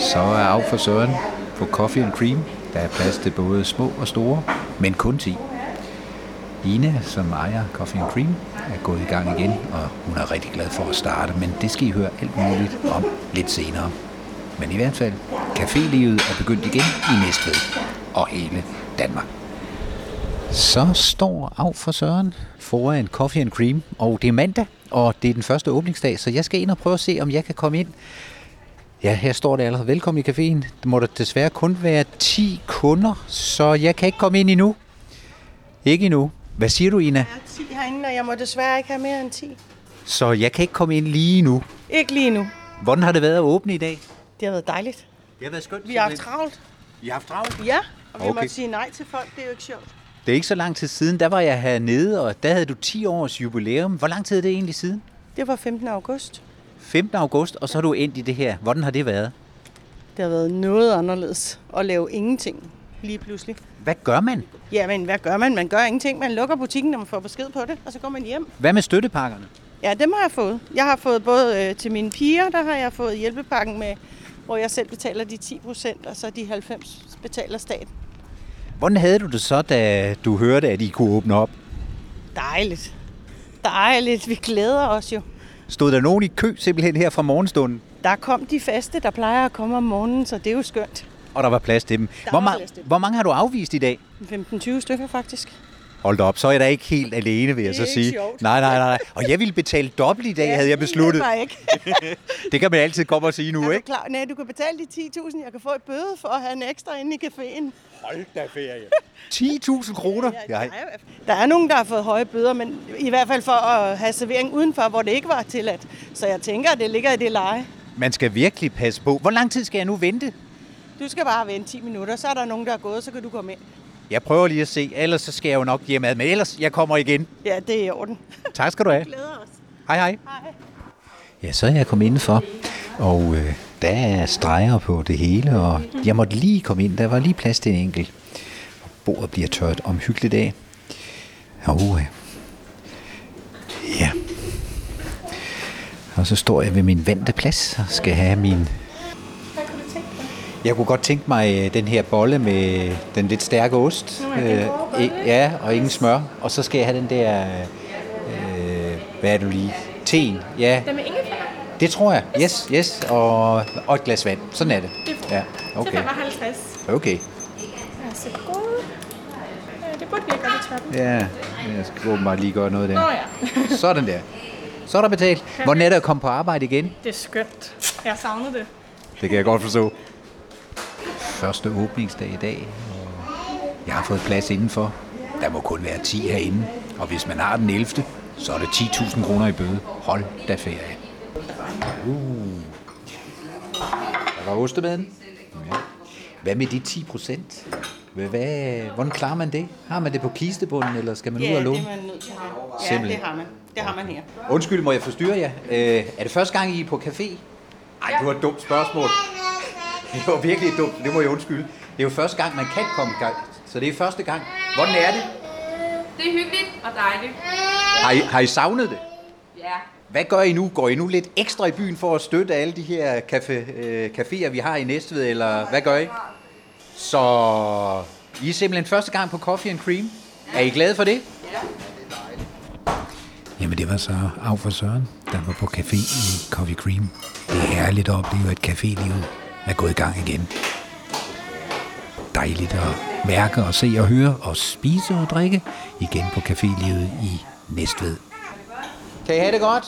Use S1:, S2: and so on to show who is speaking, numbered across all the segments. S1: Så er af for Søren på Coffee and Cream. Der er plads til både små og store, men kun 10. Ina, som ejer Coffee and Cream, er gået i gang igen, og hun er rigtig glad for at starte, men det skal I høre alt muligt om lidt senere. Men i hvert fald, cafélivet er begyndt igen i Næstved og hele Danmark. Så står af for Søren foran Coffee and Cream, og det er mandag, og det er den første åbningsdag, så jeg skal ind og prøve at se, om jeg kan komme ind. Ja, her står det allerede. Velkommen i caféen. Der må der desværre kun være 10 kunder, så jeg kan ikke komme ind endnu. Ikke endnu. Hvad siger du, Ina?
S2: Der er 10 herinde, og jeg må desværre ikke have mere end 10.
S1: Så jeg kan ikke komme ind lige nu.
S2: Ikke lige nu.
S1: Hvordan har det været at åbne i dag?
S2: Det har været dejligt.
S1: Det har været skønt.
S2: Vi har haft travlt.
S1: I har haft travlt.
S2: Ja, og vi
S1: Okay.
S2: okay. måtte sige nej til folk. Det er jo ikke sjovt.
S1: Det er ikke så lang tid siden. Der var jeg hernede, og der havde du 10 års jubilæum. Hvor lang tid er det egentlig siden?
S2: Det var 15. august.
S1: 15. august, og så er du endt i det her. Hvordan har det været?
S2: Det har været noget anderledes at lave ingenting lige pludselig.
S1: Hvad gør man?
S2: Ja, men hvad gør man? Man gør ingenting. Man lukker butikken, når man får besked på det, og så går man hjem.
S1: Hvad med støttepakkerne?
S2: Ja, dem har jeg fået. Jeg har fået både øh, til mine piger, der har jeg fået hjælpepakken med, hvor jeg selv betaler de 10 procent, og så de 90 betaler staten.
S1: Hvordan havde du det så, da du hørte, at I kunne åbne op?
S2: Dejligt. Dejligt. Vi glæder os jo.
S1: Stod der nogen i kø simpelthen her fra morgenstunden,
S2: Der kom de faste, der plejer at komme om morgenen, så det er jo skønt.
S1: og der var plads til dem? Hvor,
S2: var
S1: ma-
S2: plads til dem.
S1: hvor mange har du afvist i dag?
S2: 15-20 stykker faktisk.
S1: Hold da op, så er jeg da ikke helt alene, vil jeg
S2: Det
S1: så
S2: er ikke
S1: sige.
S2: sjovt.
S1: Nej, nej, nej. nej. Og jeg ville betale dobbelt i dag, havde jeg besluttet.
S2: Det ikke.
S1: Det kan man altid komme og sige nu,
S2: Er du
S1: ikke?
S2: klar? Nej, du kan betale de 10.000, jeg kan få et bøde for at have en ekstra inde i caféen.
S1: 10.000 kroner?
S2: Der
S1: Nej.
S2: er, jo- der er nogen, der har fået høje bøder, men i hvert fald for at have servering udenfor, hvor det ikke var tilladt. Så jeg tænker, at det ligger i det leje.
S1: Man skal virkelig passe på. Hvor lang tid skal jeg nu vente?
S2: Du skal bare vente 10 minutter, så er der nogen, der er gået, så kan du komme ind.
S1: Jeg prøver lige at se, ellers så skal jeg jo nok hjemad, men ellers jeg kommer igen.
S2: Ja, det er i orden.
S1: Tak skal du have.
S2: Glæder os.
S1: Hej hej.
S2: Hej.
S1: Ja, så er jeg kommet indenfor, og øh, der er streger på det hele, og jeg måtte lige komme ind. Der var lige plads til en enkelt. Og bordet bliver tørt omhyggeligt af. Og, øh, ja. Og så står jeg ved min vante plads og skal have min... Jeg kunne godt tænke mig øh, den her bolle med den lidt stærke ost. Øh, i- ja, og ingen smør. Og så skal jeg have den der... Øh, hvad er det nu lige? Teen. Ja,
S3: Den med ingefær?
S1: det tror jeg. Yes, yes. Og, og et glas vand. Sådan er det. Ja,
S3: Til
S1: okay.
S3: 55.
S1: Okay.
S3: Ja, så god. Ja, Øh, det burde vi ikke gøre i toppen.
S1: Ja, men jeg skal åbenbart lige gøre noget der.
S3: Nå ja.
S1: Sådan der. Så er der betalt. Hvor er det at komme på arbejde igen?
S3: Det er skønt. Jeg savnede det.
S1: Det kan jeg godt forstå. Første åbningsdag i dag. og Jeg har fået plads indenfor. Der må kun være 10 herinde. Og hvis man har den 11., så er det 10.000 kroner i bøde. Hold da ferie. Uh. Der var ostemaden. Ja. Hvad med de 10 procent? Hvad, hvad, hvordan klarer man det? Har man det på kistebunden, eller skal man ud
S2: Ja,
S1: og
S2: det
S1: låne?
S2: er man nødt til at have. Ja, det
S1: Simpelthen.
S2: har man. Det har man her.
S1: Undskyld, må jeg forstyrre jer? Øh, er det første gang, I er på café? Ej, det var et dumt spørgsmål. Det var virkelig et dumt. Det må jeg undskylde. Det er jo første gang, man kan komme i gang. Så det er første gang. Hvordan er det?
S4: Det er hyggeligt og dejligt.
S1: Har I, har I savnet det?
S4: Ja.
S1: Hvad gør I nu? Går I nu lidt ekstra i byen for at støtte alle de her café, øh, caféer, vi har i Næstved? Eller hvad gør I? Så I er simpelthen første gang på Coffee and Cream. Er I glade for det? Jamen det var så af for Søren, der var på café i Coffee Cream. Det er herligt at opleve, at cafélivet er gået i gang igen. Dejligt at mærke og se og høre og spise og drikke igen på cafélivet i Næstved. Kan I have det godt?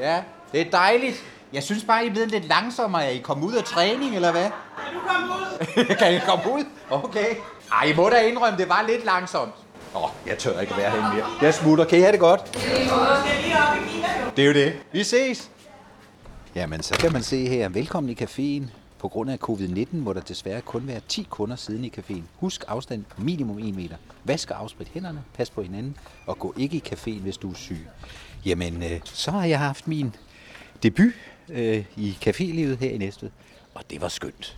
S1: Ja, det er dejligt. Jeg synes bare, I er blevet lidt langsommere. Er I kommet ud af træning, eller hvad? Kan du komme ud? kan I komme ud? Okay. Ej, I må da indrømme, det var lidt langsomt. Åh, jeg tør ikke være herinde mere. Jeg smutter. Kan I have det godt? Det er jo det. Vi ses. Jamen, så kan man se her. Velkommen i caféen. På grund af covid-19 må der desværre kun være 10 kunder siden i caféen. Husk afstand minimum 1 meter. Vask og afsprit hænderne, pas på hinanden, og gå ikke i caféen, hvis du er syg. Jamen, øh, så har jeg haft min debut øh, i cafélivet her i Næstved, og det var skønt.